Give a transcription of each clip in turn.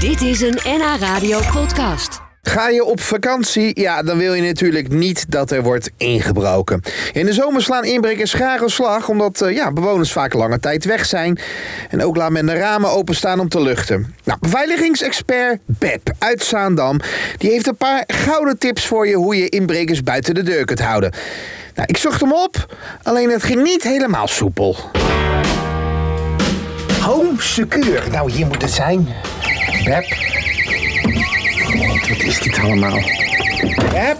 Dit is een NH Radio podcast. Ga je op vakantie? Ja, dan wil je natuurlijk niet dat er wordt ingebroken. In de zomer slaan inbrekers graag een slag, omdat eh, ja, bewoners vaak lange tijd weg zijn. En ook laat men de ramen openstaan om te luchten. Nou, beveiligingsexpert Beb uit Zaandam... die heeft een paar gouden tips voor je hoe je inbrekers buiten de deur kunt houden. Nou, ik zocht hem op, alleen het ging niet helemaal soepel. Home Secure. Nou, hier moet het zijn. Beb. Wat is dit allemaal? Beb.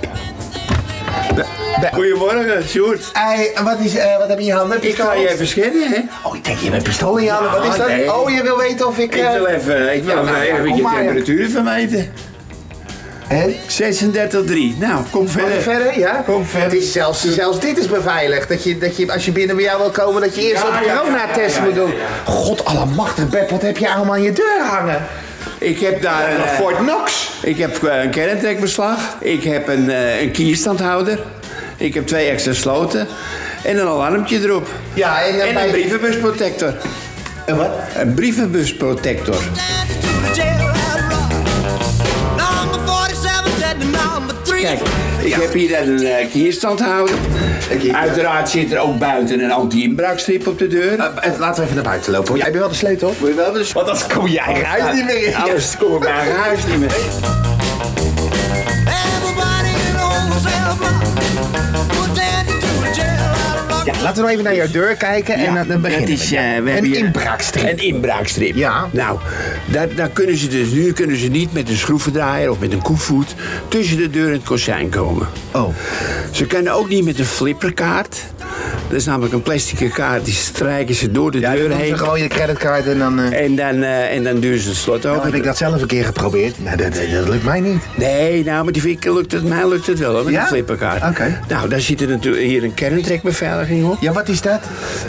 Goedemorgen, Sjoerd. Ei, wat, is, eh, wat heb je in je handen? Ik ga je even scannen, hè? Oh, ik denk je hebt een pistool in je handen. Wat is dat? Ah, nee. Oh, je wil weten of ik... Ik eh, wil even, ik wil nou ja, even kom je maar, ja. temperatuur vermeten. hè? 36,3. Nou, Mag kom ik verder. verder? Ja? Kom verder. Het is zelfs, zelfs dit is beveiligd. Dat je, dat je, als je binnen bij jou wil komen, dat je eerst Ja, een ja, ja, coronatest ja, ja, moet doen. ja, ja. God allemachtig, Beb, wat heb je allemaal aan je deur hangen? Ik heb daar een eh, Fort Knox. Ik heb eh, een kernentrekbeslag. Ik heb een, eh, een kierstandhouder. Ik heb twee extra sloten. En een alarmpje erop. Ja, en, eh, En bij- een brievenbusprotector. En wat? Een brievenbusprotector. Kijk, ik heb hier net een eh, kierstandhouder. kierstandhouder. Uiteraard zit er ook buiten een anti-inbraakstrip op de deur. Eh, eh, laten we even naar buiten lopen. hoor. Jij hebt wel de sleutel? Moet je wel dus... Want anders kom je eigen huis niet meer in. Alles kom ik mijn eigen huis niet meer. Ja, laten we nou even naar jouw deur kijken en dan- dan beginnen Het is, we. eh, we hebben Een hier inbraakstrip. Een inbraakstrip. Ja. Nou, daar, daar kunnen ze dus nu kunnen ze niet met een schroevendraaier of met een koevoet tussen de deur en het kozijn komen. Oh. Ze kunnen ook niet met een flipperkaart. Dat is namelijk een plastic kaart, die strijken ze door de Ja, dan deur doen heen. ze gewoon je creditcard en dan... eh, En dan, eh, en dan duwen ze het slot Nou, heb open. ik dat zelf een keer geprobeerd. Nou, dat, dat, dat lukt mij niet. Nee, nou, met die fik lukt het, mij lukt het wel hoor, met Ja? een flipperkaart. Oké. Nou, daar zit er natuurlijk hier een kerntrekbeveiliging op. Ja, wat is dat?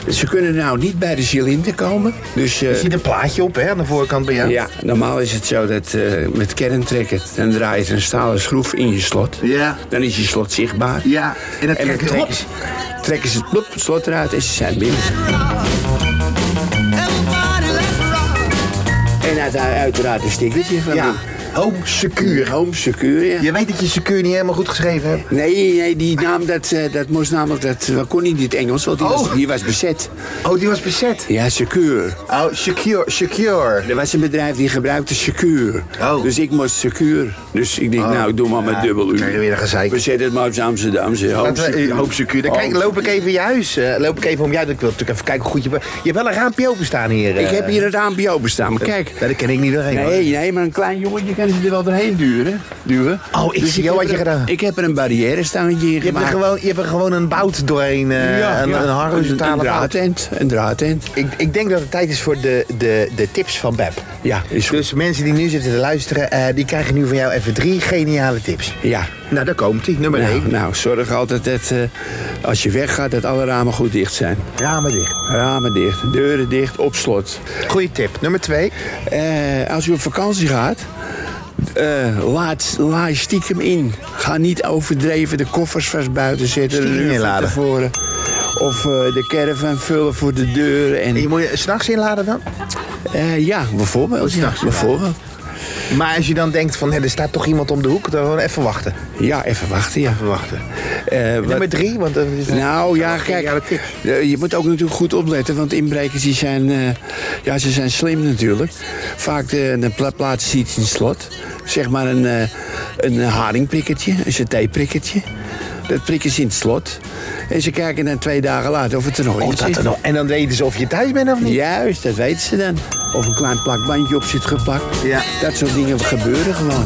Ze kunnen nou niet bij de cilinder komen. Dus, eh, Er zit een plaatje op, hè, aan de voorkant bij jou. Ja, normaal is het zo dat eh, met kerntrekken, dan draait een stalen schroef in je slot. Ja. Dan is je slot zichtbaar. Ja, en dat dan trekt het trekken op. ze, trekken ze het, plop, het slot eruit en ze zijn binnen. En uit, uiteraard een stickertje van Ja. Home die secure. Home Secure, ja. Je weet dat je secure niet helemaal goed geschreven hebt. Nee, nee, die naam, dat, eh, dat moest namelijk, dat eh, kon niet in het Engels, want die, was, Oh. die was bezet. Oh, die was bezet. Ja, Secure. Oh, secure, secure. Er was een bedrijf die gebruikte Secure. Oh. Dus ik moest Secure. Dus ik denk, Oh. nou, ik doe maar met Ja, dubbel U. krijg je weer een gezeik. We zetten het maar op z'n Amsterdamse. Hoop Oh. Laten we- eh, Home secure. Dan kijk, loop ik even je huis. eh, loop ik even om jou. Ik wil natuurlijk even kijken hoe goed je... bent. Je hebt wel een raampje openstaan hier. eh. Ik heb hier het AMPO bestaan, maar kijk. Nou, Daar ken ik niet doorheen. hoor. Nee, nee, maar een klein jongetje kan ze er wel doorheen duwen. duwen. Oh, ik zie al heb wat je er- gedaan. Ik heb er een barrière staande in Je hebt, er gemaakt. gewoon, je hebt er gewoon een bout doorheen. eh, een, een Een horizontale bout. draadtent, een draadtent. Ik, ik denk dat het tijd is voor de, de, de tips van Beb. Ja, is goed. Dus mensen die nu zitten te luisteren, eh, die krijgen nu van jou even drie geniale tips. Ja. Nou, daar komt ie. Nummer Nou, 1. nou, zorg altijd dat eh, als je weggaat, dat alle ramen goed dicht zijn. Ramen dicht. Ramen dicht, deuren dicht, op slot. Goeie tip. Nummer 2. Eh, als u op vakantie gaat, eh, laat, laai stiekem in. Ga niet overdreven de koffers vast buiten zetten. Stiekem de rug van inladen. tevoren. Of eh, de caravan vullen voor de deuren. En, Je moet je s'nachts inladen dan. eh, ja, bijvoorbeeld. Ja, s'nachts bijvoorbeeld. Maar als je dan denkt van, hé, er staat toch iemand om de hoek, dan gewoon even wachten. ja even wachten. Ja. Wachten. Eh, wat- Nummer 3, want dat is nou ja, kijk, geniale tips. eh, je moet ook natuurlijk goed opletten, want inbrekers die zijn, eh, ja, ze zijn slim natuurlijk. Vaak eh, de, de pla- plaatsen ze iets in het slot, zeg maar een, eh een haringprikkertje, een satéprikkertje. Dat prikken ze in het slot en ze kijken dan twee dagen later of het er nog in Of dat zit. er nog- En dan weten ze of je thuis bent of niet. Juist, dat weten ze dan. Of een klein plakbandje op zit geplakt. Ja. Dat soort dingen gebeuren gewoon.